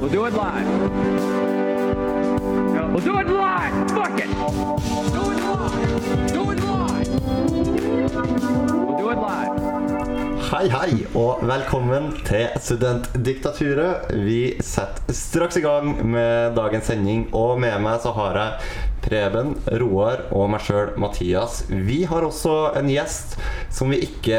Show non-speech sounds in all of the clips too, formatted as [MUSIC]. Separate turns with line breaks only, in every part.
We'll do it live. We'll do it live. Fuck it. Do it live. Do it live. We'll do it live.
Hei, hei, og velkommen til Studentdiktaturet. Vi setter straks i gang med dagens sending, og med meg så har jeg Preben, Roar og meg sjøl, Mathias. Vi har også en gjest som vi ikke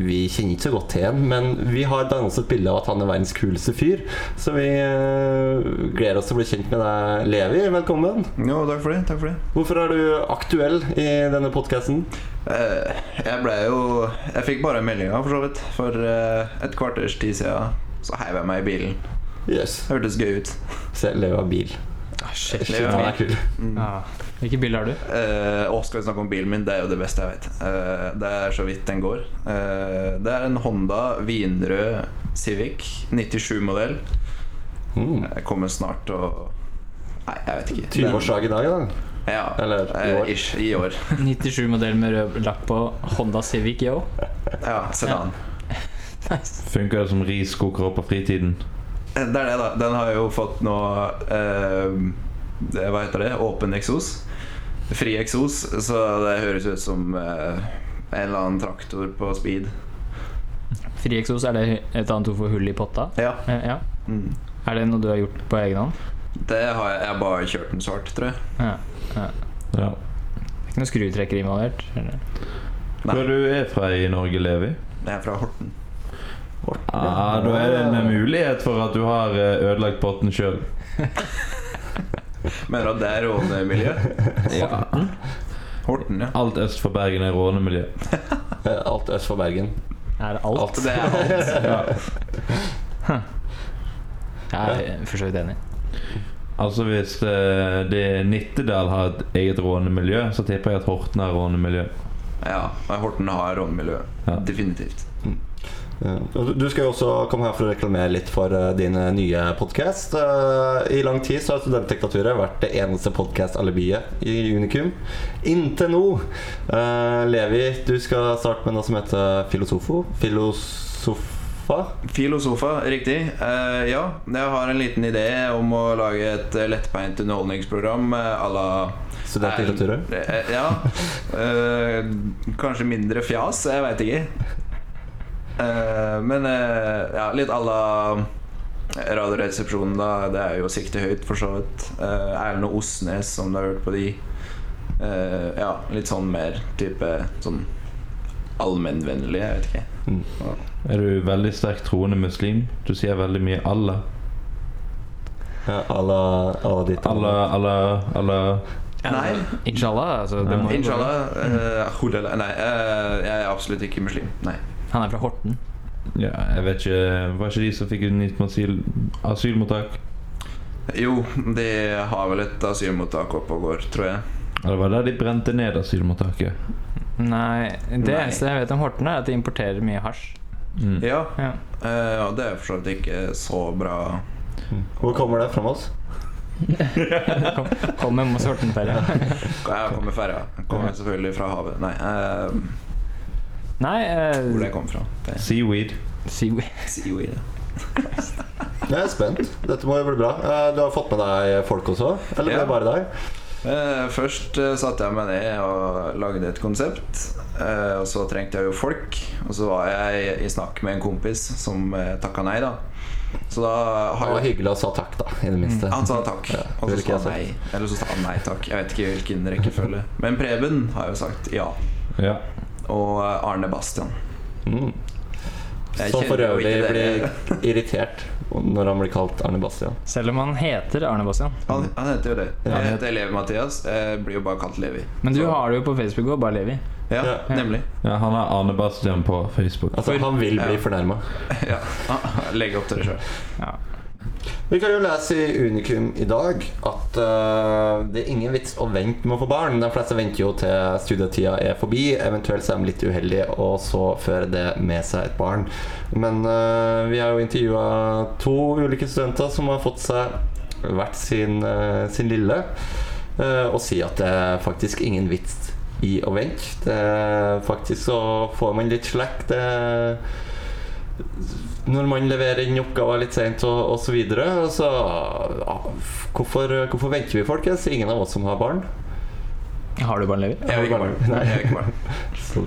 Vi kjenner ikke så godt til han, men vi har dannet oss et bilde av at han er verdens kuleste fyr. Så vi eh, gleder oss til å bli kjent med deg, Levi. Velkommen.
Jo, takk for det. takk for det
Hvorfor er du aktuell i denne podkasten?
Eh, Jeg ble jo Jeg fikk bare meldinga, for så vidt. For eh, et kvarters tid siden så heiv jeg meg i bilen.
Yes.
Det hørtes gøy ut.
Så jeg lever av bil.
Ah, shit.
Shit, han er kul.
Ah, hvilke bilder har du?
Eh, og skal vi snakke om bilen min? Det er jo det beste jeg vet. Eh, det er så vidt den går. Eh, det er en Honda vinrød Civic 97-modell.
Mm.
Jeg kommer snart til å Nei, jeg vet ikke.
20-årsdag i dag, da.
Ja,
Eller i
eh,
år.
ish, i år.
97-modell med rød lakk på Honda Civic Yo.
ja, sedan.
Nice.
Funker det som riskoker på fritiden?
Eh, Det er det, da. Den har jo fått nå eh, det, Hva heter det? Åpen eksos. Fri eksos. Så det høres ut som eh, en eller annen traktor på speed.
Frieksos, er det et annet ord for hull i potta?
Ja.
Eh, ja.
Mm.
Er det noe du har gjort på egen hånd?
Det har jeg, jeg har bare kjørt den svart, tror jeg.
Ja.
Ja.
Det er Ikke noe skrutrekker involvert? eller?
Nei.
Hvor du er fra i Norge, Levi?
Jeg er fra Horten.
Ah, da er det en mulighet for at du har eh, ødelagt potten sjøl.
Mener du at det er rånemiljø?
Ja.
[LAUGHS] Horten, ja.
Alt øst for Bergen er rånemiljø.
Eh, Alt øst for Bergen.
Er det alt? Hm.
Det er alt.
Ja.
Jeg er for så vidt enig.
Altså Hvis eh, det Nittedal har et eget rånemiljø, så tipper jeg at Horten har rånemiljø.
[LAUGHS] Ja, og Horten har rånemiljø.
Ja.
Definitivt.
Ja. Og du- Du skal jo også komme her for å reklamere litt for eh, din eh, nye podkast. I lang tid så har Studentdiktaturet vært det eneste podkast-alibiet i Unikum. Inntil nå. Eh, Levi, du skal starte med noe som heter Filosofo. Filosofa.
Filosofa, riktig. Eh, ja, jeg har en liten idé om å lage et eh, lettbeint underholdningsprogram eh, à la
Studentdiktaturet.
Eh, eh, Ja. Eh, kanskje mindre fjas, jeg veit ikke. Eh, men eh, ja, litt à la Radioresepsjonen, da. Det er jo sikte høyt, for så vidt. Eh, Erlend og Osnes, som du har hørt på de. Eh, ja, litt sånn mer type sånn allmennvennlig, jeg vet ikke.
Er du veldig sterkt troende muslim? Du sier veldig mye Allah.
Ja, à la à la ditt.
Allah, Allah, Allah.
Nei.
Inshallah. Altså, det må
Ja.
jo gå.
Inshallah. eh, hulala- nei, eh, jeg er absolutt ikke muslim. Nei.
Han er fra Horten.
Ja, jeg vet ikke eh, Var ikke de som fikk nytt asyl, asylmottak?
Jo, de har vel et asylmottak oppe og går, tror jeg.
Ja, Det var der de brente ned asylmottaket.
Nei, det
Nei.
eneste jeg vet om Horten, er at de importerer mye hasj.
Mm.
Ja,
Ja.
eh, og det er for så vidt ikke så bra.
Hvor kommer det fra oss?
Kom, kom med masse Horten-ferie.
Jeg kommer ferja. Kommer selvfølgelig fra havet. Nei, eh,
Nei
hvor
eh,
det kom fra. Det
Seaweed.
Seaweed.
sier jo i det.
Jeg er spent. Dette må jo bli bra. Eh, Du har fått med deg folk også? Eller ble
Ja.
det bare deg?
Eh, Først eh, satte jeg meg ned og lagde et konsept. eh, Og så trengte jeg jo folk. Og så var jeg i snakk med en kompis som eh, takka nei, da. Så da
Det
har
var
jeg Mm,
hyggelig å sa takk, da. I det minste.
Han sa takk,
Ja,
og så
vil ikke
sa
jeg
han nei. Eller så sa han nei takk. Jeg vet ikke hvilken rekkefølge. Men Preben har jo sagt ja.
Ja.
Og eh, Arne Bastian.
Mm.
Jeg
Som for
kjenner jo
øvrig
ikke
blir
dere.
irritert når han blir kalt Arne Bastian.
Selv om han heter Arne Bastian.
Han, han heter jo det.
Ja.
Jeg heter Levi-Mathias. Jeg blir jo bare kalt Levi.
Men du
Så-
har det jo på Facebook òg, bare Levi.
ja,
Ja.
nemlig. [LAUGHS]
ja, han har Arne Bastian på Facebook.
Altså, han vil bli
Ja.
fornærma.
Ja. [LAUGHS] Ah, Legg opp til det sjøl.
Ja.
Vi kan jo lese i Unikum i dag at eh, det er ingen vits å vente med å få barn. De fleste venter jo til studietida er forbi, eventuelt så er de litt uheldige, og så fører det med seg et barn. Men eh, vi har jo intervjua to ulike studenter som har fått seg hvert sin, eh, sin lille, eh, og sier at det er faktisk ingen vits i å vente. Det er faktisk så får man litt slack. Det når man leverer inn oppgaver litt seint og, og så videre, så ja, hvorfor, hvorfor venter vi, folkens? Ingen av oss som har barn.
Har du barn, Levi?
Jeg er ikke barn.
Nei.
Jeg er ikke barn.
Så,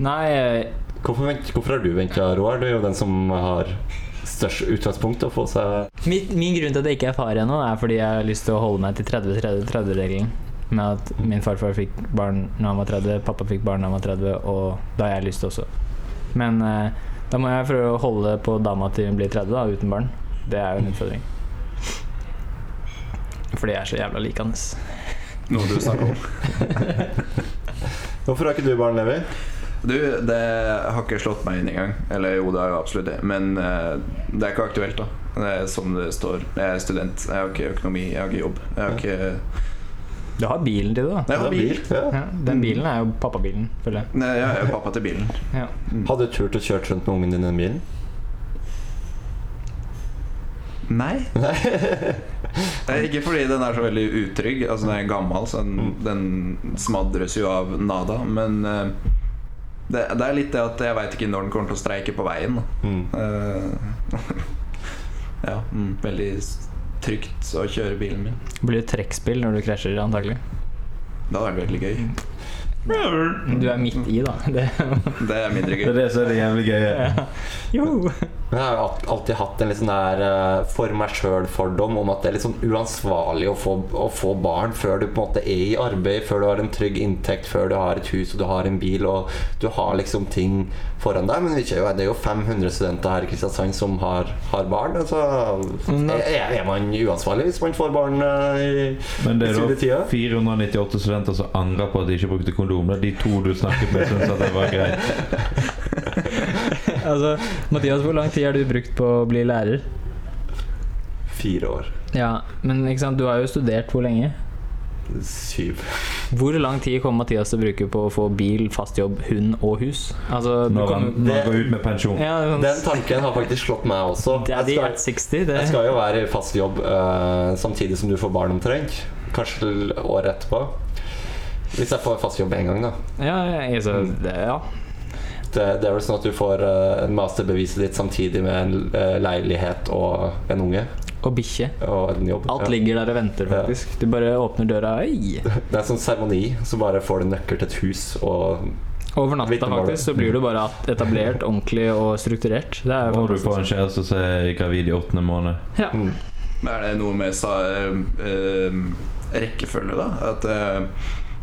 Nei, eh,
hvorfor, vent, hvorfor har du venta, Roar? Du er jo den som har størst utgangspunkt til å få seg
min, min grunn til at jeg ikke er far ennå, er fordi jeg har lyst til å holde meg til 30-30-30-regelen. Med at min farfar fikk barn når han var 30, pappa fikk barn når han var 30, og da har jeg lyst også. Men eh, da må jeg prøve å holde på dama til hun blir 30, da, uten barn. Det er jo en utfordring. Fordi jeg er så jævla likende.
[LAUGHS] Noe du snakker om.
Hvorfor har ikke du barn, Levi?
Du, det har ikke slått meg inn engang. Eller jo, det har jo absolutt det. Men eh, det er ikke aktuelt, da. Det er som det står. Jeg er student. Jeg har ikke økonomi. Jeg har ikke jobb. Jeg har ikke
Du har bilen til det, da. Mm.
Jeg har bil.
Ja.
Ja, den bilen er jo pappabilen, føler jeg.
Nei, jeg er pappa til bilen.
Ja.
Hadde du turt å kjøre rundt med ungen din i den bilen?
Nei. Eh, Ikke fordi den er så veldig utrygg. Altså Den er gammel, så den, den smadres jo av nada. Men eh, det, det er litt det at jeg veit ikke når den kommer til å streike på veien. da.
[LAUGHS] Mm.
Eh, [LAUGHS] ja, mm, veldig s- trygt å kjøre bilen min.
Det blir jo trekkspill når du krasjer, antagelig.
Det hadde vært veldig gøy.
Du er midt i, da. [LAUGHS] Det,
Det er mindre
Det er
gøy.
det som er det jævlig gøye.
jo.
Men jeg har jo alt- alltid hatt en litt sånn der eh, for meg sjøl-fordom om at det er litt sånn uansvarlig å få, å få barn før du på en måte er i arbeid, før du har en trygg inntekt, før du har et hus og du har en bil og du har liksom ting foran deg. Men vi ser jo, det er jo 500 studenter her i Kristiansand som har, har barn. Altså,
Mm.
er, er man uansvarlig hvis man får barn eh, i
Men det er da
Studietida?
498 studenter som angrer på at de ikke brukte kondom. Det er de to du snakket med, syns at det var greit.
[LAUGHS] Altså, Mathias, hvor lang tid har du brukt på å bli lærer?
fire år?
Ja, men ikke sant, du har jo studert hvor lenge?
Syv.
Hvor lang tid kommer Mathias til å bruke på å få bil, fast jobb, hund og hus? Altså, du
Når han,
kommer
når han går ut med pensjon.
ja, sånn-
Den tanken har faktisk slått meg også.
Daddy
Jeg skal-
at 60, det
Jeg skal jo være i fast jobb eh, samtidig som du får barn omtrent. Kanskje til året etterpå. Hvis jeg får fast jobb en gang, da.
Ja, jeg, altså, det, ja.
Det, det er vel sånn at du får eh, masterbeviset ditt samtidig med en eh, leilighet og en unge.
Og bikkje.
Og en jobb.
Alt
Ja.
ligger der og venter,
Ja.
faktisk. Du bare åpner døra Oi!
Det er en sånn seremoni, så bare får du nøkkel til et hus og
Over natta,
Vitnemålet.
faktisk, så blir du bare at- etablert, ordentlig og strukturert. Det er
Og du får
fantastisk.
en kjæreste som er gravid i åttende måned.
Ja.
mm.
Men er det noe med sa, eh, eh, rekkefølge, da? At eh,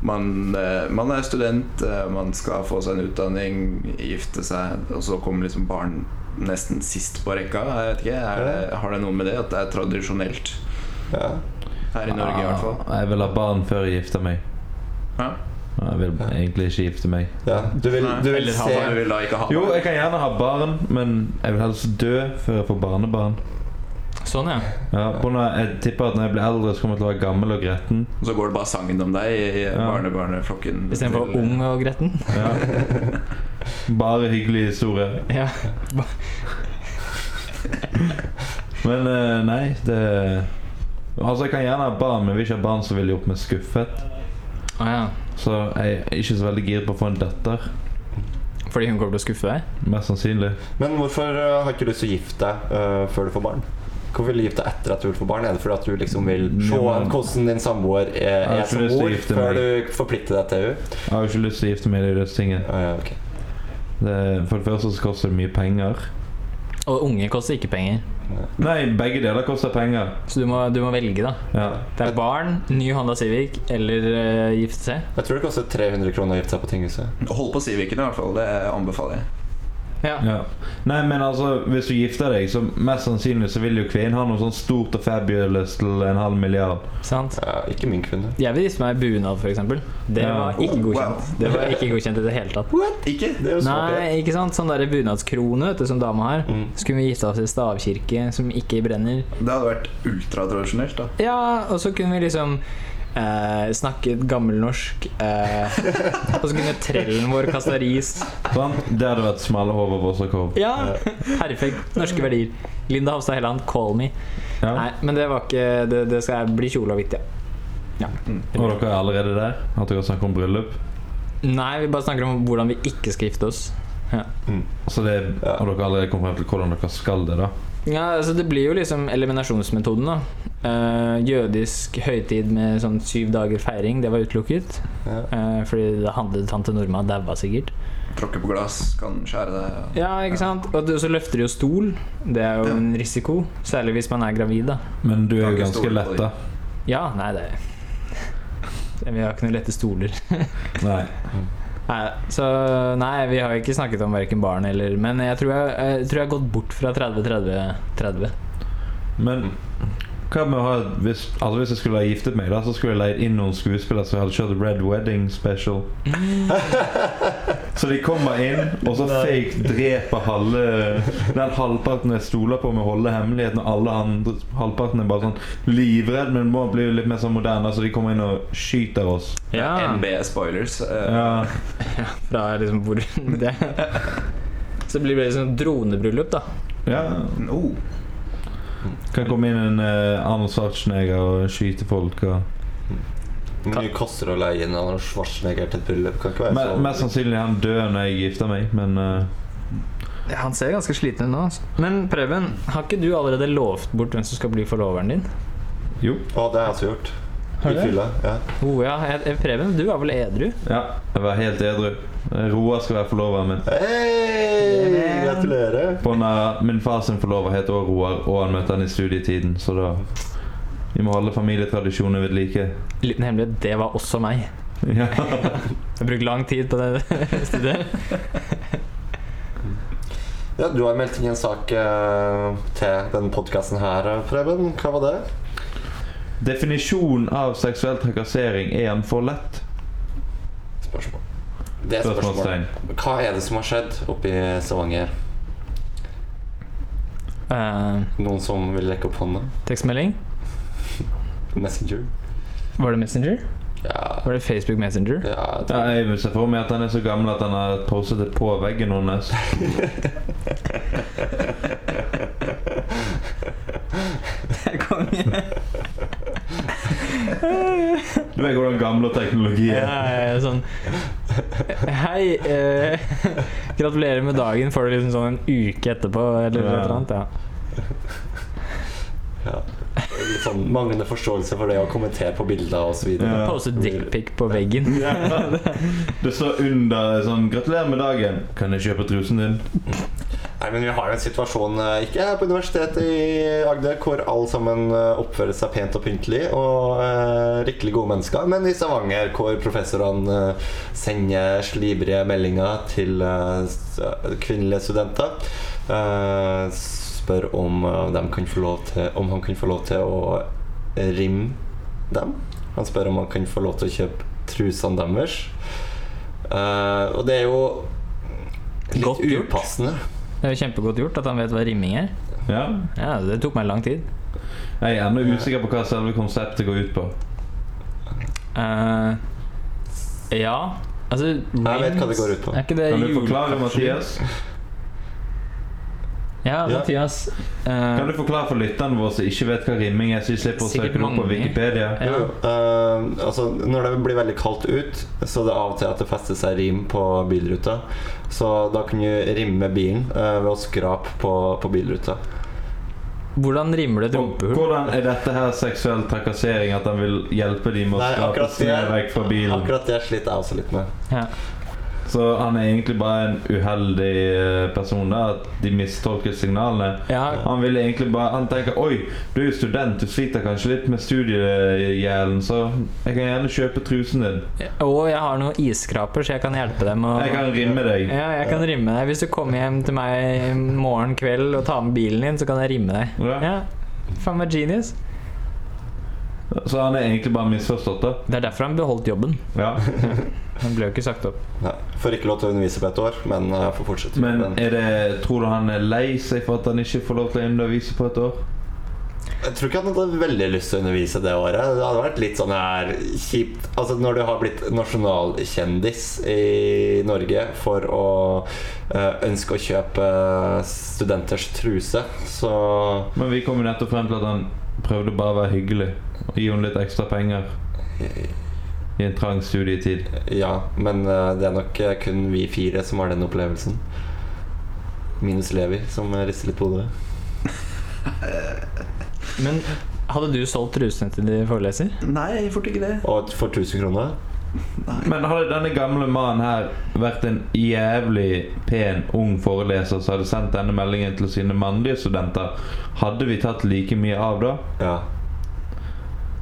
man, eh, man er student, eh, man skal få seg en utdanning, gifte seg, og så kommer liksom barn nesten sist på rekka. Jeg vet ikke, er det, Har det noe med det at det er tradisjonelt
ja.
her i Norge, i hvert fall?
Ah, Jeg vil ha barn før jeg gifter meg.
Ja?
Ah, Jeg vil egentlig ikke gifte meg.
ja. Du vil, du vil
Eller har
se
man- du vil da ikke ha
Jo,
barn?
jeg kan gjerne ha barn, men jeg vil helst dø før jeg får barnebarn.
Sånn, ja.
Ja, på når jeg tipper at når jeg blir eldre, så kommer jeg til å være gammel og gretten.
Så går det bare sangen om deg i barnebarneflokken.
Istedenfor
til- eh,
ung og gretten. [LAUGHS]
Ja. Bare hyggelige historier.
Ja.
Men eh, nei, det Altså, jeg kan gjerne ha barn, men hvis jeg har barn, så vil jeg opp med skuffet.
Å ja.
Så jeg er ikke så veldig giret på å få en datter.
Fordi hun kommer til å skuffe deg?
Mest sannsynlig.
Men hvorfor eh, har ikke du lyst til å gifte deg eh, før du får barn? Hvorfor vil du gifte deg etter at du vil få barn? Er det fordi at du liksom vil se
Ja, Mm, men-
hvordan din samboer er,
har
er
ikke
som
lyst til å
mor,
gifte
før
meg.
du forplikter deg til henne?
Jeg har jo ikke lyst til å gifte meg, det er jo det tingen.
Ah, ja, ok.
Det, for det første så koster det mye penger.
Og unge koster ikke penger.
Nei, begge deler koster penger.
Så du må, du må velge, da.
Ja.
Det er barn, ny Honda Civic eller eh, gifte seg.
Jeg tror det koster 300 kroner å gifte seg på tinghuset.
Hold på Civiken, i hvert fall. Det anbefaler jeg.
Ja.
Ja. Nei, men altså, hvis du gifter deg, så mest sannsynlig så vil jo kvinnen ha noe sånn stort og fabulous til en halv milliard.
Sant?
Ja, ikke min kvinne.
Jeg vil gifte meg i bunad, f.eks. Det
Ja.
var ikke
Oh, wow.
godkjent. Det var ikke godkjent i det hele tatt.
Ikke?
Det er jo smart, det.
Nei, ikke sant? Sånn der bunadskrone vet du, som dama har.
Mm.
Skulle vi gifte oss i stavkirke som ikke brenner?
Det hadde vært ultratradisjonelt, da.
Ja, og så kunne vi liksom eh, snakke gammelnorsk. Eh, og så kunne trellen vår kaste ris.
Sant? Det hadde vært smale hover og vossekov.
Ja, perfekt. Norske verdier. Linda Hofstad Helland, 'Call Me'. Nei,
Ja.
men det var ikke Det, det skal bli kjoleavhvitt, ja.
Og dere er allerede der? At dere snakker om bryllup?
Nei, vi bare snakker om hvordan vi ikke skal gifte oss. Ja.
Mm.
Så det
Ja.
har dere allerede kommet frem til hvordan dere skal det, da?
Ja, altså Det blir jo liksom eliminasjonsmetoden. da Eh, Jødisk høytid med sånn syv dager feiring, det var utelukket.
Ja.
Eh, fordi det handlet tante Norma daua sikkert.
Tråkke på glass, kan skjære deg.
Ja, ikke sant? Og det- så løfter de jo stol. Det er jo
Ja.
en risiko. Særlig hvis man er gravid, da.
Men du er
Kan
jo
ikke
ganske
stole på
letta.
Ja, nei, det Vi har ikke noen lette stoler.
Nei.
Nei, så nei, vi har ikke snakket om verken barn eller Men jeg tror jeg, jeg tror jeg har gått bort fra 30-30-30.
Men hva med å ha hvis, altså hvis jeg skulle ha giftet meg, da så skulle jeg leid inn noen skuespillere som hadde kjørt Red Wedding Special. så de kommer inn, og så fake dreper halve Den halvparten jeg stoler på med å holde hemmeligheten, og alle andre halvparten er bare sånn livredd, men må bli litt mer sånn moderne, så de kommer inn og skyter oss.
Ja.
MB spoilers. eh,
Ja,
Fra liksom hvor [LAUGHS] det Så det blir det liksom dronebryllup, da.
ja.
Oh,
Kan komme inn en eh, Arnold Schwarzenegger og skyte folk og
Hvor mye koster det å leie inn Arnold Schwarzenegger til et bryllup? Kan ikke være
Men- Mest
så
sannsynlig han dør når jeg gifter meg, men eh,
Ja, Han ser ganske sliten ut nå. altså. Men Preben, har ikke du allerede lovt bort hvem som skal bli forloveren din?
jo.
Å, det har jeg også gjort.
Har
I
du det?
fylla. Ja.
Oh, ja. jeg- jeg- Preben, du er vel edru?
Ja, jeg var helt edru. Eh, Roar skal være forloveren min.
Hei! Gratulerer.
På når min far sin forlover het også Roar, og han møtte han i studietiden, så da Vi må holde familietradisjoner ved like. [LAUGHS]
Liten hemmelighet, det var også meg.
Ja.
Jeg brukte lang tid på det [LAUGHS] studiet.
Ja, du har meldt inn en sak eh, til denne podkasten her, Preben. Hva var det?
Definisjonen av seksuell trakassering, er han for lett?
Spørsmål. Det er spørsmål.
Spørsmålstegn.
Hva er det som har skjedd oppe i Stavanger?
Eh,
Noen som vil rekke opp hånda?
tekstmelding?
Messenger?
Var det Messenger?
Ja,
Var det Facebook Messenger?
ja jeg
Ja,
tror-
jeg vil se for meg at han er så gammel at han har postet det på veggen hennes.
[LAUGHS]
[LAUGHS]
[LAUGHS] Konge.
Du vet hvordan gamle teknologi
Ja,
er.
ja, ja, sånn Hei, eh, [LAUGHS] gratulerer med dagen. Får du liksom sånn en uke etterpå eller noe
Ja.
annet? Ja.
ja. Litt sånn manglende forståelse for det å kommentere på bilder osv.
Ja.
Pose dickpic på veggen.
Det står under sånn 'Gratulerer med dagen'. Kan jeg kjøpe trusen din?
Nei, men Vi har jo en situasjon eh, ikke her på Universitetet i Agder hvor alle sammen eh, oppfører seg pent og pyntelig og eh, riktig gode mennesker, men i Stavanger hvor professorene eh, sender slibrige meldinger til eh, s- kvinnelige studenter. eh, spør om, eh, dem kan få lov til, om han kan få lov til å rimme dem. Han spør om han kan få lov til å kjøpe trusene deres. Eh, og det er jo litt
Godt gjort.
upassende.
Det er jo kjempegodt gjort at han vet hva rimming er.
Ja.
Ja, Det tok meg lang tid.
Jeg er ennå usikker på hva selve konseptet går ut på.
Eh, ja Altså
Jeg vet hva det
rings-
går ut på.
Er ikke det
Kan du
jule-
forklare, Mathias?
Ja,
Ja.
Mathias. eh,
Kan du forklare for lytterne våre som ikke vet hva rimming er, så de slipper å
Sikkert
søke noe på
mange.
Wikipedia?
Ja.
Jo, jo. Eh, altså, når det blir veldig kaldt ut, så det er av og til at det fester seg rim på bilruta. Så da kan du rimme bilen eh, ved å skrape på, på bilruta.
Hvordan rimer du et
Og
rumpehull?
hvordan er dette her seksuell trakassering, at han vil hjelpe dem med å
Nei,
skrape
akkurat det-
snø vekk fra bilen?
Akkurat det sliter jeg også litt med.
Ja.
Så han er egentlig bare en uheldig eh, person, da, at de mistolker signalene.
ja,
Han ville egentlig bare Han tenker Oi, du er jo student, du sliter kanskje litt med studiegjelden, så jeg kan gjerne kjøpe trusen din.
Og jeg har noen isskraper, så jeg kan hjelpe dem. å-
Jeg kan rimme deg.
Ja, jeg kan rimme deg. Hvis du kommer hjem til meg i morgen kveld og tar med bilen din, så kan jeg rimme deg.
Ja.
Ja, Faen meg genius.
Så han er egentlig bare misforstått, da.
Det er derfor han beholdt jobben.
Ja.
Han ble jo ikke sagt opp.
Nei, får ikke lov til å undervise på et år, men jeg får fortsette.
Men
Men
er det, tror du han er lei seg for at han ikke får lov til å undervise på et år?
jeg tror ikke han hadde veldig lyst til å undervise det året. Det hadde vært litt sånn her kjipt Altså Når du har blitt nasjonalkjendis i Norge for å eh, ønske å kjøpe studenters truse, så
Men vi kom jo nettopp frem til at han prøvde bare å være hyggelig og gi henne litt ekstra penger. i en trang studietid.
Ja, men eh, det er nok eh, kun vi fire som har den opplevelsen. Minus Levi, som eh, rister litt på hodet.
Men hadde du solgt rusene til de foreleser?
Nei, jeg får ikke det.
Og for 1000 kroner?
Men hadde denne gamle mannen her vært en jævlig pen, ung foreleser som hadde sendt denne meldingen til sine mannlige studenter, hadde vi tatt like mye av da?
Ja.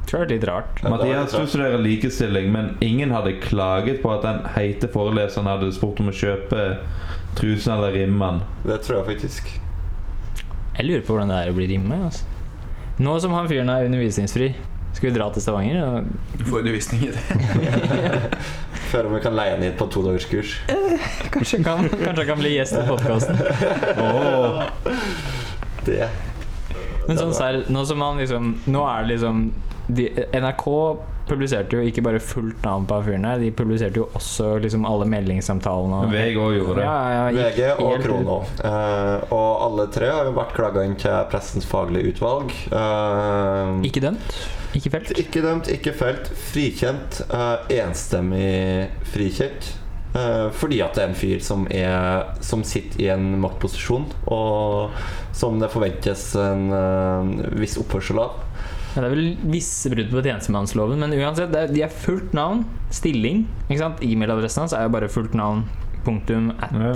Tror det er litt rart.
Ja, det er litt
Mathias, du
rart.
studerer likestilling, men ingen hadde klaget på at den heite foreleseren hadde spurt om å kjøpe trusen eller rimmen.
Det tror jeg faktisk.
Jeg lurer på hvordan det er å bli rimme. Altså. Nå som han fyren er undervisningsfri, skal vi dra til Stavanger? Og
Du får undervisning i det. [LAUGHS]
Før om vi kan leie han hit på to dagers kurs.
kanskje, han kan, kanskje han kan bli gjest i podkasten?
Åh,
Det
Men sånn ser, nå som han liksom Nå er det liksom de, NRK publiserte jo ikke bare fullt navn på han fyren her, de publiserte jo også liksom alle meldingssamtalene og
VG òg gjorde det.
Ja, ja, ja,
VG og
helt-
Krono. Eh, og alle tre har jo vært klaga inn til Pressens faglige utvalg. Eh,
Ikke dømt? Ikke felt?
ikke dømt, ikke felt. Frikjent. eh, enstemmig frikjent. Eh, fordi at det er en fyr som, er, som sitter i en maktposisjon, og som det forventes en eh, viss oppførsel av.
Ja, det er vel visse brudd på tjenestemannsloven, men uansett, det er, de er fullt navn, stilling. ikke sant? E-mailadressen hans er jo bare fullt navn. Punktum at
Ja.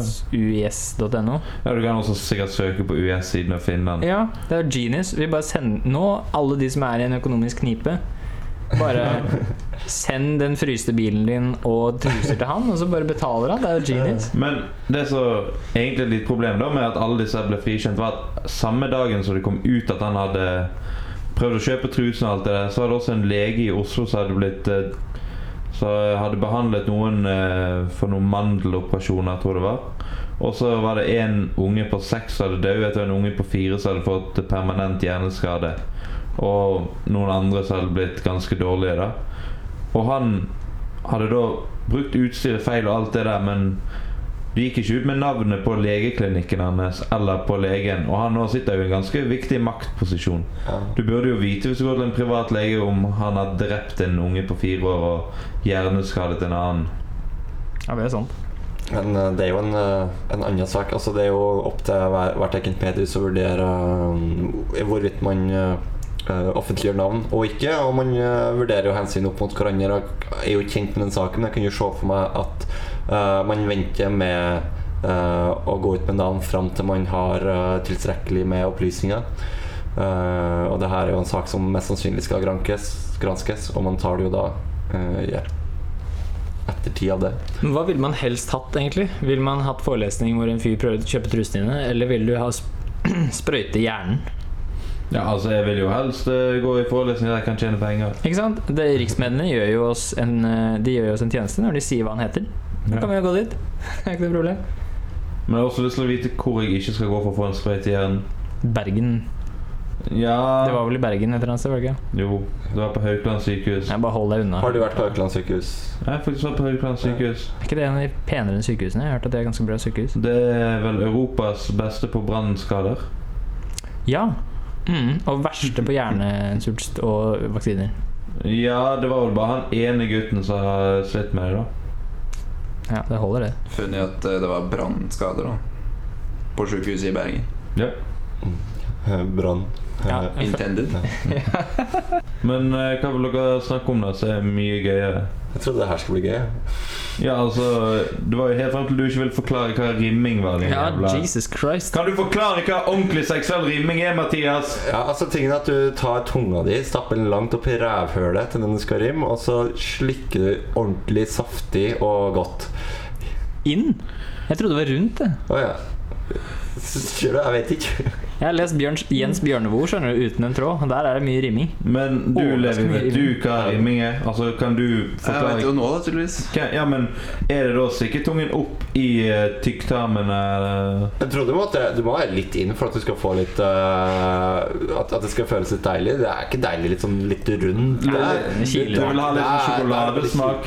uis.no.
Ja, du kan også sikkert søke på US-siden og finne den.
Ja, det er genius. Vi bare sender nå alle de som er i en økonomisk knipe. [LAUGHS] Bare send den fryste bilen din og truser til han, og så bare betaler han. Det er jo genius.
Men det som egentlig er litt problem da med at alle disse ble frikjent, var at samme dagen som det kom ut at han hadde prøvd å kjøpe trusen og alt det der, så var det også en lege i Oslo som hadde blitt eh, som hadde behandlet noen eh, for noen mandeloperasjoner, tror jeg det var. Og så var det en unge på seks som hadde dødd, og en unge på fire som hadde fått permanent hjerneskade. Og noen andre som hadde blitt ganske dårlige, da. Og han hadde da brukt utstyret feil og alt det der, men du gikk ikke ut med navnet på legeklinikken hans eller på legen, og han nå sitter jo i en ganske viktig maktposisjon.
Ja.
Du burde jo vite hvis du går til en privat lege om han har drept en unge på fire år og hjerneskadet en annen.
Ja, det er sant.
Men eh, det er jo en, eh, en annen sak. Altså, det er jo opp til hver, hvert enkelt mediehus å vurdere eh, hvorvidt man eh, eh, offentliggjør navn og ikke. Og man eh, vurderer jo hensyn opp mot hverandre. Jeg er jo ikke kjent med den saken, men jeg kan jo se for meg at eh, man venter med eh, å gå ut med navn fram til man har eh, tilstrekkelig med opplysninger. Eh, og det her er jo en sak som mest sannsynlig skal grankes, granskes, og man tar det jo da eh, i ettertid av det.
Men Hva ville man helst hatt, egentlig? Ville man hatt forelesning hvor en fyr prøvde å kjøpe trusene dine, eller ville du ha sp- [CLEARS THROAT] sprøyte i hjernen?
Ja, altså Jeg vil jo helst eh, gå i forelesning der jeg kan tjene penger.
Ikke sant? Det, riksmediene gjør jo oss en, eh, de gjør jo oss en tjeneste når de sier hva han heter. Da
Ja.
kan vi jo gå dit. [LAUGHS] Det er ikke noe problem.
Men jeg har også lyst til å vite hvor jeg ikke skal gå for å få en sprøyte i hjernen.
Bergen.
Ja
Det var vel i Bergen et eller annet sted? var det ikke?
Jo, det var på Haukeland sykehus.
Nei, Bare hold deg unna.
Har du vært på Haukeland sykehus?
Jeg har faktisk vært på Haukeland sykehus.
Er ikke det en av de penere enn sykehusene? Jeg har hørt at det er ganske bra sykehus.
Det er vel Europas beste på brannskader.
Ja. Mm, og verste på hjernesvulst og vaksiner.
Ja, det var vel bare han ene gutten som har slitt med det, da.
Ja, det holder, det.
Funnet at eh, det var brannskader da. på sykehuset i Bergen.
Ja.
Eh, Brann.
Ja.
Eh,
Intended.
Men eh, hva vil dere snakke om da, som er mye gøyere?
Jeg trodde det her skulle bli gøy.
Ja, altså Det var jo helt frem til du ikke ville forklare hva rimming var. din
Ja,
jævla-
Jesus Christ.
Kan du forklare hva ordentlig seksuell rimming er, Mathias?
Ja, altså tingen er at Du tar tunga di, stapper den langt opp i rævhølet til den du skal rimme, og så slikker du ordentlig saftig og godt.
Inn? Jeg trodde det var rundt, det.
Å ja. Syns du det? Jeg vet ikke.
Jeg har lest Bjørns, Jens Bjørnevoe, skjønner du, uten en tråd. Der er det mye rimming.
Men du, Levi,
Overraskende
vet du hva rimming er? Altså, kan du
Jeg vet
forklare
jo nå, da, tydeligvis.
Hva- Ja, men Er det da å stikke tungen opp i uh, tykktarmen eh, eller
Jeg tror du må, at- du må være litt inn for at du skal få litt eh, at, at det skal føles litt deilig. Det er ikke deilig litt sånn litt rund. Det er-
Du
kiler.
vil ha
Det er- det
litt sånn
er veldig
sjokoladesmak?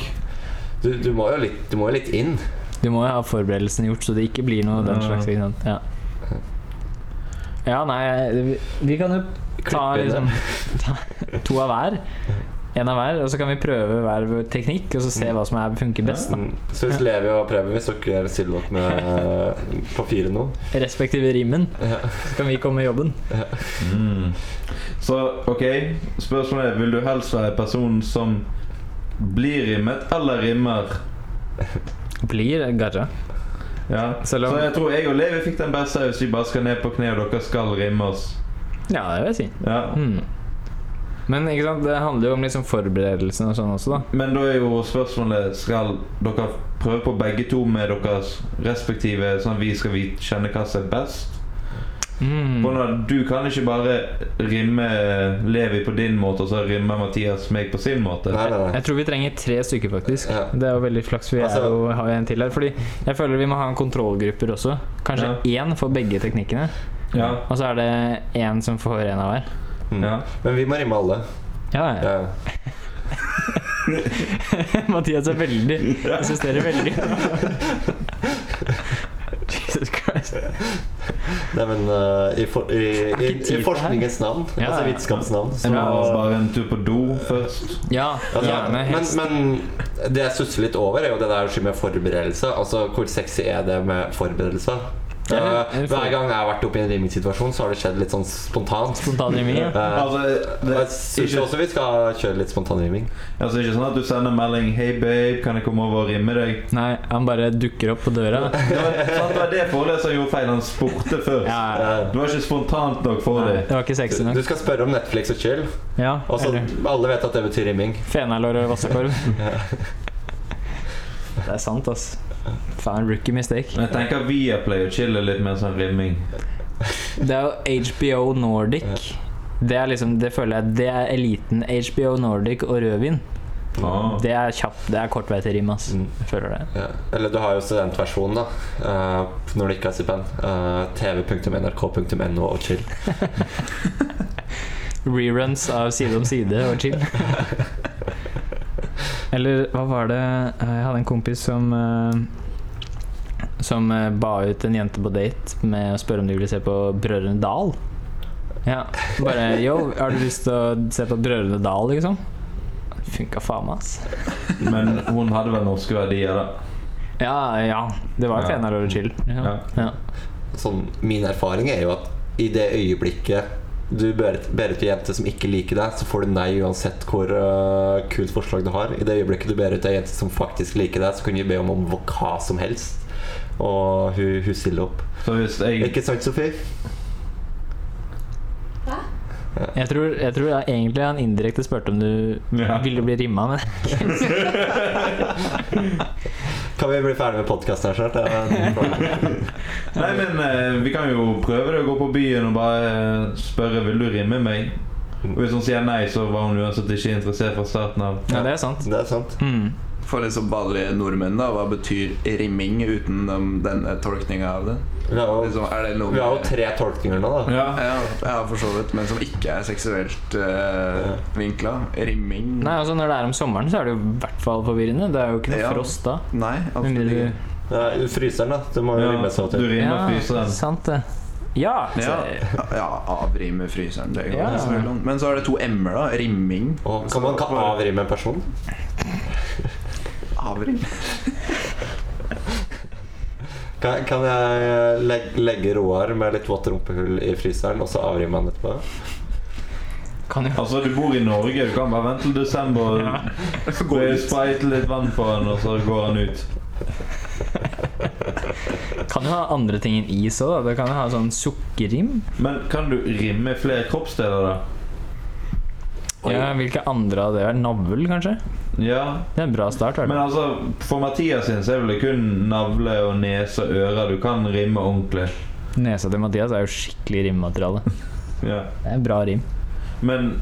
Du, du, må jo litt, du må jo litt inn.
Du må jo ha forberedelsene gjort, så det ikke blir noe den
Ja.
slags. Ikke sant? Ja. ja, nei Vi, vi kan jo ta
Klipp inn
liksom ta to av hver. En av hver, og så kan vi prøve hver vår teknikk, og så
Mm.
se hva som er, funker best. da.
Mm. Så hvis Levi og Preben hvis dere stiller opp med eh, papiret nå
Respektive rimmen. Så kan vi komme med jobben.
Mm. Så ok, spørsmålet er Vil du helst være personen som blir rimmet, eller rimmer?
Blir garra.
Ja.
Så
Så,
la-
jeg tror jeg og Levi fikk den beste hvis vi bare skal ned på kne, og dere skal rimme oss.
Ja, det vil jeg si.
Ja.
Mm. Men ikke sant, det handler jo om liksom forberedelsen og sånn også, da.
Men da er jo spørsmålet Skal dere prøve på begge to med deres respektive, sånn at vi skal vite, kjenne hva som er best?
Mm.
Hvordan- Du kan ikke bare rimme Levi på din måte, og så rimme Mathias meg på sin måte.
Nei, nei, nei.
Jeg tror vi trenger tre stykker, faktisk.
Ja.
Det er jo veldig flaks. Vi er
Altså-
jo, har jo en til her. Fordi jeg føler vi må ha en kontrollgrupper også. Kanskje én for begge teknikkene.
Ja.
Og så er det én som får en av hver.
Mm.
Ja.
Men vi må rimme alle.
Ja, ja.
Ja.
[LAUGHS] Mathias er veldig insisterer veldig. Jesus Christ.
Nei, men eh, i, for, i, i,
ikke tid
i forskningens navn,
Ja,
altså
ja.
vitenskapens navn
Jeg må
så-
bare en tur på do først.
Ja,
Altså,
gjerne
men,
helst.
men det jeg stusser litt over, er jo det der skje med forberedelse. Altså, Hvor sexy er det med forberedelse?
Ja,
Eh,
det er for-
hver gang jeg har vært oppe i en rimingssituasjon, så har det skjedd litt sånn
[LAUGHS]
spontant.
Spontan remi. Ja.
Eh,
Altså, det
jeg
er
syns
ikke,
også vi skal kjøre litt spontan riming.
altså, ikke sånn at du sender melding 'Hei, babe, kan jeg komme over og rimme deg?'
Nei, han bare dukker opp på døra.
Det var, sant, det, var det foreleseren gjorde feil. Han spurte først.
Ja, ja.
Eh,
Det var ikke spontant nok for
Nei,
deg.
det var ikke sexy nok.
du skal spørre om Netflix og chill.
Ja,
Og så
eller
alle vet at det betyr rimming.
fenalår og
[LAUGHS]
vassakorv. Det er sant, ass. Faen, rookie mistake.
Men jeg tenker Viaplay og chill er litt mer sånn rimming.
Det er jo HBO Nordic. Det er liksom, det føler jeg, det er eliten. HBO Nordic og rødvin.
Ah.
Det er kjapt, det er kort vei til rim, ass. Jeg føler det.
Mm, Ja. Eller du har jo studentversjonen, da. eh, når det ikke er stipend. Eh, TV.nrk.no og chill.
Reruns av Side om side og chill. [LAUGHS] Eller hva var det Jeg hadde en kompis som eh, Som eh, ba ut en jente på date med å spørre om de ville se på Brødrene Dal. Ja, bare Yo, har du lyst til å se på Brødrene Dal, liksom? Funka faen meg, ass.
Men hun hadde vel norske verdier, da.
Ja, ja. Det var jo
Ja.
fenalår og chill. Ja.
Ja.
Ja.
sånn, min erfaring er jo at i det øyeblikket du ber ber ut ei jente som ikke liker deg, så får du nei uansett hvor øh, kult forslag du har. I det øyeblikket du ber ut ei jente som faktisk liker deg, så kan du be om, om hva som helst. Og hun, hun stiller opp.
Så hvis jeg
Ikke sant, Sofie?
Jeg tror, jeg tror jeg, egentlig han indirekte spurte om du
Ja.
ville bli rimma, men
Kan vi bli ferdig med podkasten her snart? [LAUGHS] Ja,
Nei, men eh, vi kan jo prøve det å gå på byen og bare eh, spørre Vil du rimme meg. Og hvis hun sier nei, så var hun uansett ikke interessert fra starten av.
ja, det er sant.
Det er sant.
Mm.
For liksom vanlige nordmenn, da, hva betyr rimming uten um, denne tolkninga av det?
Vi har jo,
Liksom, er det noe
vi har jo tre tolkninger nå, da.
Ja.
ja, ja, for så vidt, men som ikke er seksuelt uh, vinkla. Rimming
Nei, altså Når det er om sommeren, så er det jo i hvert fall forvirrende. Det er jo ikke noe
Ja.
frost da.
Nei,
Med
absolutt
mindre
ikke.
du-
Nei, Fryseren, da. Det må jo
Ja,
rimes av og
du
til.
rimmer
Ja,
fryseren.
sant det. Ja! altså,
Ja,
så-
ja avrime fryseren. Det går
Ja.
ja. Men så er det to m-er, da. Rimming.
Og kan man kan avrime en person?
Avrim.
Kan, kan jeg legge, legge Roar med litt vått rumpehull i fryseren, og så avrime han etterpå?
Kan jo
Altså, du bor i Norge, du kan bare vente til desember.
Ja.
Gå ut. Sprite litt vann på han, og så går han ut.
kan jo ha andre ting enn is òg. Det kan jo ha sånn sukkerrim.
Men kan du rimme flere kroppsdeler, da?
Oi.
Ja, hvilke andre av det er? Navl, kanskje?
Ja.
Det er en bra start. i hvert
Men
fall.
altså, for Mathias sin så er det vel kun navle og nese og ører du kan rimme ordentlig.
Nesa til Mathias er jo skikkelig rimmateriale.
Ja.
Det er en bra rim.
Men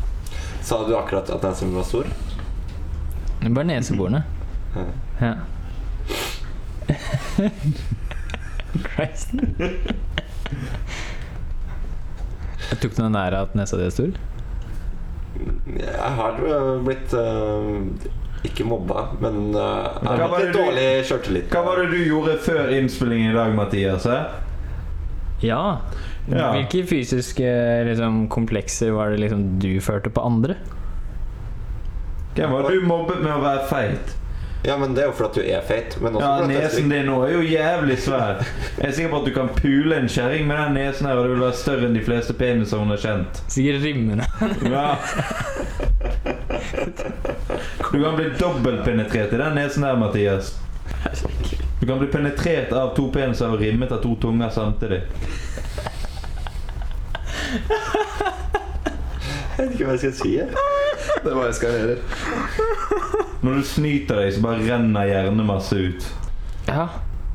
Sa du akkurat at den som var stor?
Det er bare neseborene. Ja. [LAUGHS] Christ. Jeg tok noe nær at nesa di er stor.
Jeg har øh, blitt øh, ikke mobba, men øh, jeg
Hva
har
var
hatt litt
det du-
dårlig sjøltillit.
hva var det du gjorde før innspillingen i dag, Mathias? eh?
Ja.
Ja.
Hvilke fysiske liksom, komplekser var det liksom du førte på andre?
Hvem var det du mobbet med å være feit?
Ja, men det er jo fordi at du er feit. Men også
Ja,
fordi at
Nesen
det er
din nå er jo jævlig svær. Jeg er sikker på at du kan pule en kjerring med den nesen her, og det vil være større enn de fleste peniser hun har kjent.
Sikkert rimmene.
Ja. Du kan bli dobbeltpenetrert i den nesen der, Mathias. Du kan bli penetrert av to peniser og rimmet av to tunger samtidig.
Jeg vet ikke hva jeg skal si. jeg.
Det bare eskalerer.
Når du snyter deg, så bare renner hjernemasse ut.
Ja.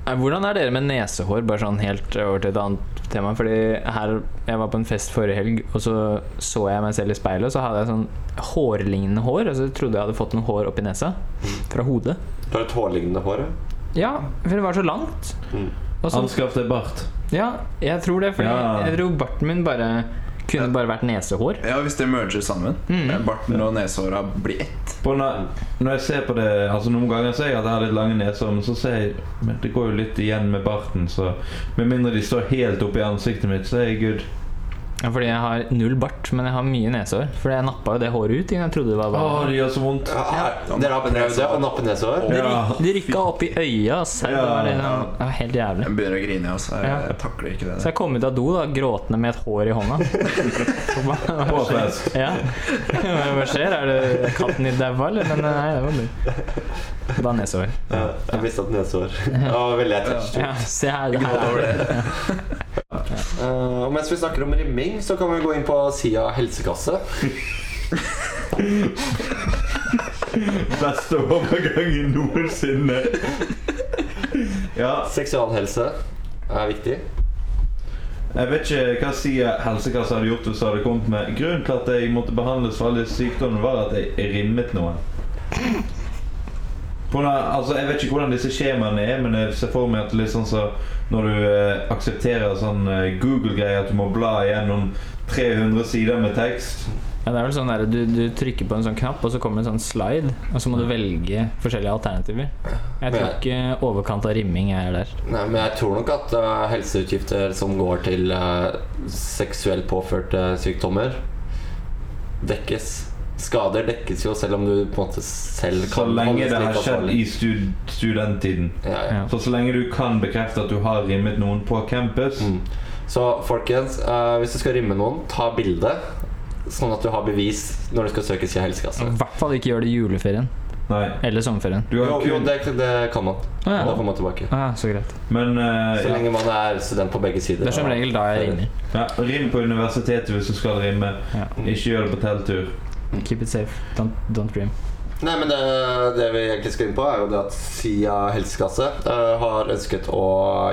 Nei, Hvordan er dere med nesehår? Bare sånn helt over til et annet tema. Fordi her, Jeg var på en fest forrige helg, og så så jeg meg selv i speilet. Og så hadde jeg sånn hårlignende hår. Og så trodde jeg hadde fått noe hår oppi nesa. Fra hodet.
Du har et hårlignende hår. ja.
Ja, for det var så langt.
Mm.
Og så,
Anskaff deg bart.
ja, jeg tror det. Fordi
Ja.
jeg tror barten min bare kunne bare vært nesehår.
Ja, hvis det merger sammen. Eh,
Mm.
Barten og nesehåra blir ett.
På når, når jeg ser på det Altså Noen ganger ser jeg at jeg har litt lange neser, men så ser jeg Men det går jo litt igjen med barten, så Med mindre de står helt oppi ansiktet mitt, så er jeg good.
Ja, Fordi jeg har null bart, men jeg har mye nesehår. Fordi jeg nappa jo det håret ut. ikke? Jeg trodde det var
Å,
bare
det gjør så vondt.
Ja, Dere har prøvd det å nappe nesehår?
Det,
Ja.
ry- det rykka opp i øya. ass. Det var
Ja.
liksom, det var helt jævlig.
Jeg begynner å grine, altså. Jeg,
Ja.
jeg takler ikke det.
Så jeg kom ut av do da, gråtende med et hår i hånda. Så bare-
[LAUGHS] På fest.
Ja. Hva skjer? Er det katten din daua, eller? Men eh, nei, det var du. Det var nesehår.
Ja, jeg mista et nesehår. Det var veldig attached.
Ja, se her. det
Gråt over
her er.
det.
Eh, og mens vi snakker om rimming, så kan vi gå inn på sida helsekasse.
Beste overgangen noensinne. Ja,
Seksualhelse er viktig.
jeg vet ikke hva sier helsekassa hadde gjort hvis jeg hadde kommet med Grunnen til at jeg måtte behandles for alle disse sykdommene, var at jeg rimmet noen. På grunn av- altså, jeg vet ikke hvordan disse skjemaene er, men jeg ser for meg at litt sånn så når du eh, aksepterer sånn eh, Google-greier at du må bla gjennom 300 sider med tekst
Ja, det er vel sånn der, du, du trykker på en sånn knapp, og så kommer det en sånn slide. Og så må du velge forskjellige alternativer. Jeg tror ikke overkant av rimming er der.
Nei, men jeg tror nok at eh, helseutgifter som går til uh, seksuelt påførte sykdommer, dekkes. Skader dekkes jo selv om du på en måte selv
så
kan
lenge
holdes
det
litt
har skjedd
ansvarlig.
i stud studenttiden.
ja, ja.
Ja.
Så så lenge du kan bekrefte at du har rimmet noen på campus
Mm. Så folkens, eh, hvis du skal rimme noen, ta bilde. Sånn at du har bevis når du skal søkes i helsekasse.
I hvert fall ikke gjør det i juleferien
Nei.
eller sommerferien.
Du
Jo,
har
jo
kun,
det, det kan man.
Å
Da
ja.
får man tilbake.
Å ja, så greit.
men eh,
Så
ja.
lenge man er student på begge sider.
Det er som regel da jeg ringer.
Ja, rim på universitetet hvis du skal rime.
Ja.
Ikke gjør det på telttur.
Keep it safe. Don't, don't dream.
Nei, men det, det vi egentlig skal inn på, er jo det at SIA helsekasse eh, har ønsket å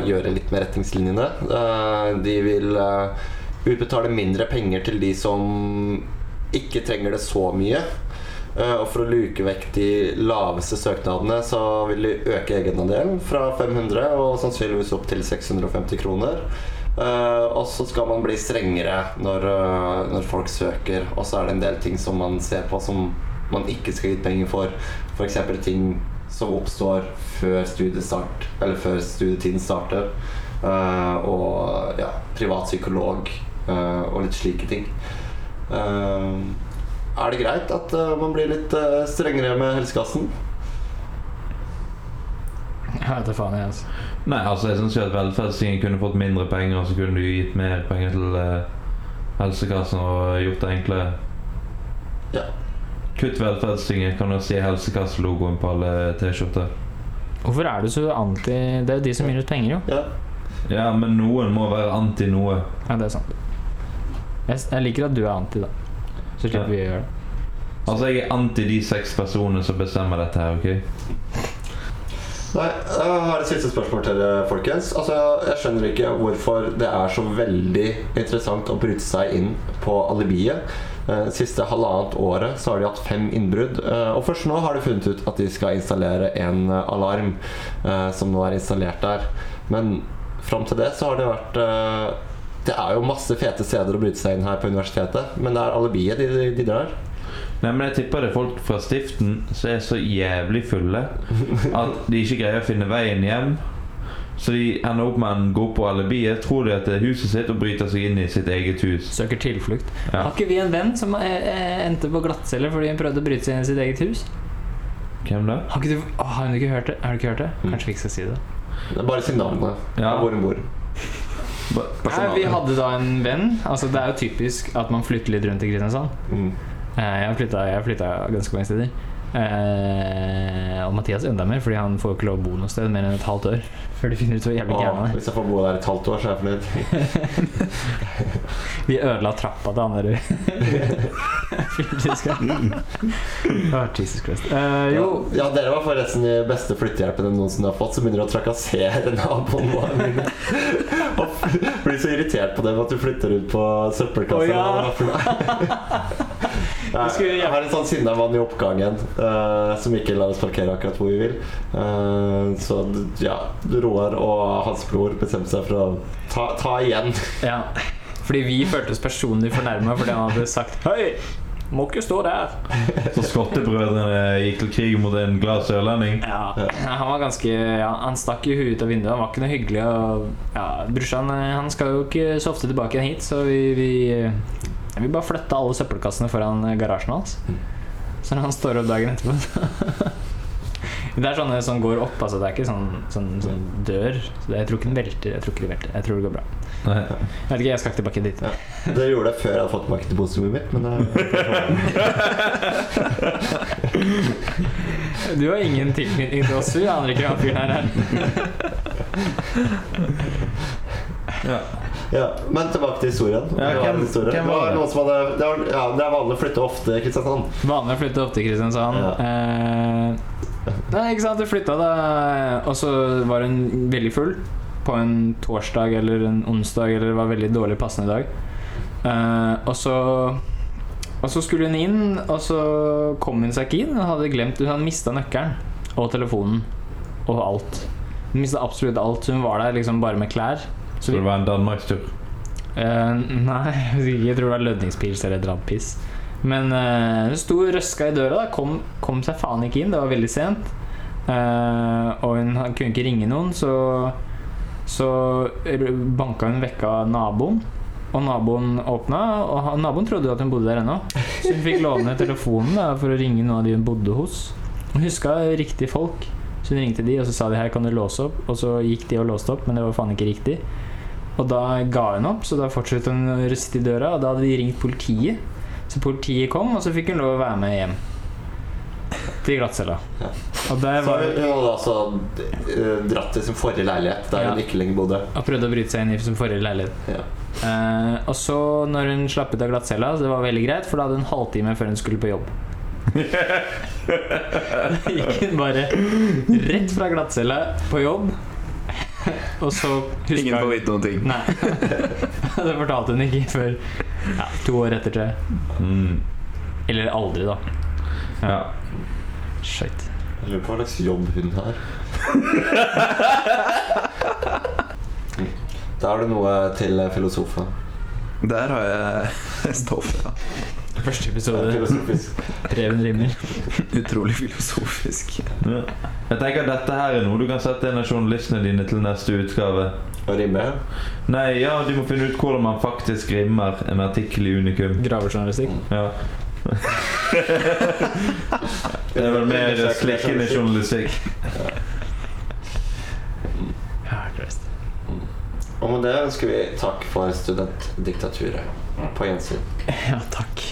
gjøre litt med retningslinjene. Eh, de vil eh, utbetale mindre penger til de som ikke trenger det så mye. Eh, og for å luke vekk de laveste søknadene, så vil de øke egenandelen fra 500 og sannsynligvis opp til 650 kroner. Eh, og så skal man bli strengere når, eh, når folk søker. Og så er det en del ting som man ser på som man ikke skal gi penger for. F.eks. ting som oppstår før studiestart, eller før studietiden starter. Eh, og ja, privat psykolog eh, og litt slike ting. Eh, er det greit at eh, man blir litt eh, strengere med helsekassen?
Jeg vet da faen, jeg, altså.
Nei, altså jeg syns at velferdstingen kunne fått mindre penger, og så kunne du gitt mer penger til eh, helsekassen og gjort det enklere.
Ja.
Kutt velferdstinget, kan du si helsekasselogoen på alle T-skjorter.
Hvorfor er du så anti Det er jo de som gir ut penger, jo.
Ja.
Ja, men noen må være anti noe.
Ja, det er sant. Jeg, s- jeg liker at du er anti, da. Så slipper vi å gjøre det.
Altså, jeg er anti de seks personene som bestemmer dette her, OK?
Nei, jeg har et siste spørsmål til dere, folkens. Altså, Jeg skjønner ikke hvorfor det er så veldig interessant å bryte seg inn på alibiet. Eh, Siste halvannet året så har de hatt fem innbrudd, eh, og først nå har de funnet ut at de skal installere en eh, alarm eh, som nå er installert der. Men fram til det så har det vært eh, Det er jo masse fete steder å bryte seg inn her på universitetet, men det er alibiet de, de, de drar.
Nei, men jeg tipper det er folk fra stiften som er så jævlig fulle at de ikke greier å finne veien hjem. Så de ender opp med en gå på alibiet, tror de at det er huset sitt, og bryter seg inn i sitt eget hus.
Søker tilflukt.
Ja.
Har ikke vi en venn som eh, eh, endte på glattcelle fordi hun prøvde å bryte seg inn i sitt eget hus?
Hvem da?
Har ikke du, Å, har hun ikke hørt det? Har du ikke hørt det?
Mm.
Kanskje vi ikke skal si det.
Det er bare signalene.
Ja.
Hvor hun bor.
Nei, vi hadde da en venn. Altså Det er jo typisk at man flytter litt rundt i Kristiansand.
Mm.
Eh, Jeg har flytta, jeg har flyttet ganske mange steder. Eh, og Mathias enda mer, fordi han får jo ikke lov å bo noe sted mer enn et halvt år. Før de finner ut hvor jævlig gæren
Og
[LAUGHS] han er.
hvis jeg får bo der et halvt år, så er jeg fornøyd.
Vi ødela trappa til han [LAUGHS] der fylletidsgreia. oh, Jesus Christ. Eh, jo,
Ja, dere var forresten de beste flyttehjelpene noensinne har fått, som begynner å trakassere [LAUGHS] naboene mine. Og blir så irritert på dem at du flytter ut på
Å,
søppelkassa.
ja.
eller hva det var
[LAUGHS]
for noe.
skulle
Jeg har en sånn sinna mann i oppgangen eh, som ikke lar oss parkere akkurat hvor vi vil. Eh, så ja, Roar og hans bror bestemte seg for å ta, ta igjen.
ja. Fordi vi følte oss personlig fornærma fordi han hadde sagt Hei, må ikke stå der.
Så skottebrødrene gikk til krig mot en glad sørlending.
Ja, Han var ganske ja, Han stakk jo huet ut av vinduet. Han var ikke noe hyggelig. Og, ja, Brorsan eh, han skal jo ikke så ofte tilbake igjen hit, så vi, vi, eh, vi bare flytta alle søppelkassene foran eh, garasjen hans. Så når han står opp dagen etterpå [LAUGHS] Det er sånne som går opp, altså. Det er ikke sånn, sånn, sånn dør. Så det, jeg tror ikke den velter. Jeg tror ikke det velter. Jeg tror det går bra.
Nei.
Jeg vet ikke, jeg skal ikke tilbake dit.
Dere gjorde det før jeg hadde fått tilbake til bostrommet mitt, men eh, det
[LAUGHS] Du har ingen tilknytning til oss, vi aner ikke hva fyren her er.
Ja.
[LAUGHS] Ja, Men tilbake til historien.
Ja,
det, var
hvem-
en historie.
hvem
det
var
var
det?
noen som hadde Det, var, ja, det er vanlig å flytte ofte i Kristiansand.
Vanlig å flytte opp til Kristiansand.
Ja.
Eh, nei, ikke sant, du flytta da, eh, og så var hun veldig full på en torsdag eller en onsdag, eller det var veldig dårlig passende dag. Eh, og så Og så skulle hun inn, og så kom hun seg ikke inn. Hun hadde glemt Hun hadde mista nøkkelen og telefonen og alt. Hun mista absolutt alt. Hun var der liksom bare med klær.
Så det var en danmarkstur.
Eh, nei, jeg vet ikke. jeg tror det var lønningspils eller et eller annet piss. Men eh, hun sto røska i døra, da. Kom, kom seg faen ikke inn. Det var veldig sent. Eh, og hun ha- kunne ikke ringe noen, så Så r- banka hun vekka naboen. Og naboen åpna, og han- naboen trodde jo at hun bodde der ennå. Så hun fikk låne telefonen da, for å ringe noen av de hun bodde hos. Hun huska riktige folk, så hun ringte de, og så sa de her kan du låse opp. Og så gikk de og låste opp, men det var faen ikke riktig. Og da ga hun opp, så da fortsatte hun å ruste i døra, og da hadde de ringt politiet. Så politiet kom, og så fikk hun lov å være med hjem. Til glattcella.
Ja.
Og der
Så
var
hun hun hadde altså eh, dratt til sin forrige leilighet, der
Ja.
hun ikke lenger bodde.
og prøvde å bryte seg inn i sin forrige leilighet.
Ja.
Eh, og så, når hun slapp ut av glattcella, så det var veldig greit, for da hadde hun en halvtime før hun skulle på [LAUGHS] jobb. Da gikk hun bare rett fra glattcella på jobb, og så huska
Ingen får
hun
vite noen ting.
Nei. [LAUGHS] det fortalte hun ikke før ja, to år etter, tror jeg.
Mm.
Eller aldri, da.
Ja.
Shit.
Jeg lurer på hva slags jobb hun har. [LAUGHS] Da har du noe til eh, filosofen.
Der har jeg stoff. Ja.
Første
Det er
episode.
Filosofisk.
Reven rimer.
Utrolig filosofisk.
ja. Jeg tenker at dette her er noe du kan sette en av journalistene dine til neste utgave.
Å rimme.
Nei, ja, du må finne ut hvordan man faktisk rimer en artikkel i Unikum.
Gravejournalistikk.
Ja. Det er vel mer slikkende journalistikk.
Ja, Christ.
Og med det ønsker vi takk for studentdiktaturet. På gjensyn.
Ja, takk.